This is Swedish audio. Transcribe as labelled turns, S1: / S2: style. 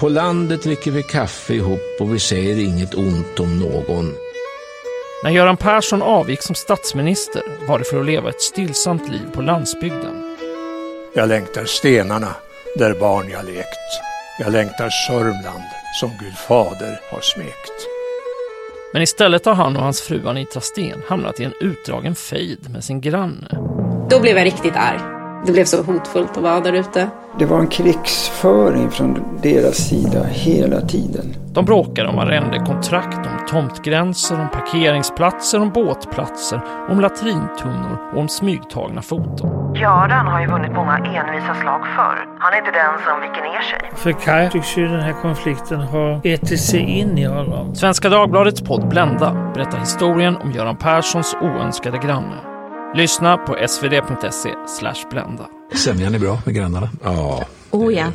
S1: På landet dricker vi kaffe ihop och vi säger inget ont om någon.
S2: När Göran Persson avgick som statsminister var det för att leva ett stillsamt liv på landsbygden.
S3: Jag längtar stenarna där barn jag lekt. Jag längtar Sörmland som Gud fader har smekt.
S2: Men istället har han och hans fru Anita Sten hamnat i en utdragen fejd med sin granne.
S4: Då blev jag riktigt arg. Det blev så hotfullt att vara där ute.
S5: Det var en krigsföring från deras sida hela tiden.
S2: De bråkade om arrendekontrakt, om tomtgränser, om parkeringsplatser, om båtplatser, om latrintunnor och om smygtagna foton.
S6: Göran har ju vunnit många envisa slag förr. Han är inte den som viker ner sig.
S7: För Kaj tycks ju den här konflikten ha ätit sig in i honom.
S2: Svenska Dagbladets podd Blända berättar historien om Göran Perssons oönskade granne. Lyssna på svd.se blända.
S8: Sämjan är bra med grannarna.
S1: Ja.
S9: Oh ja.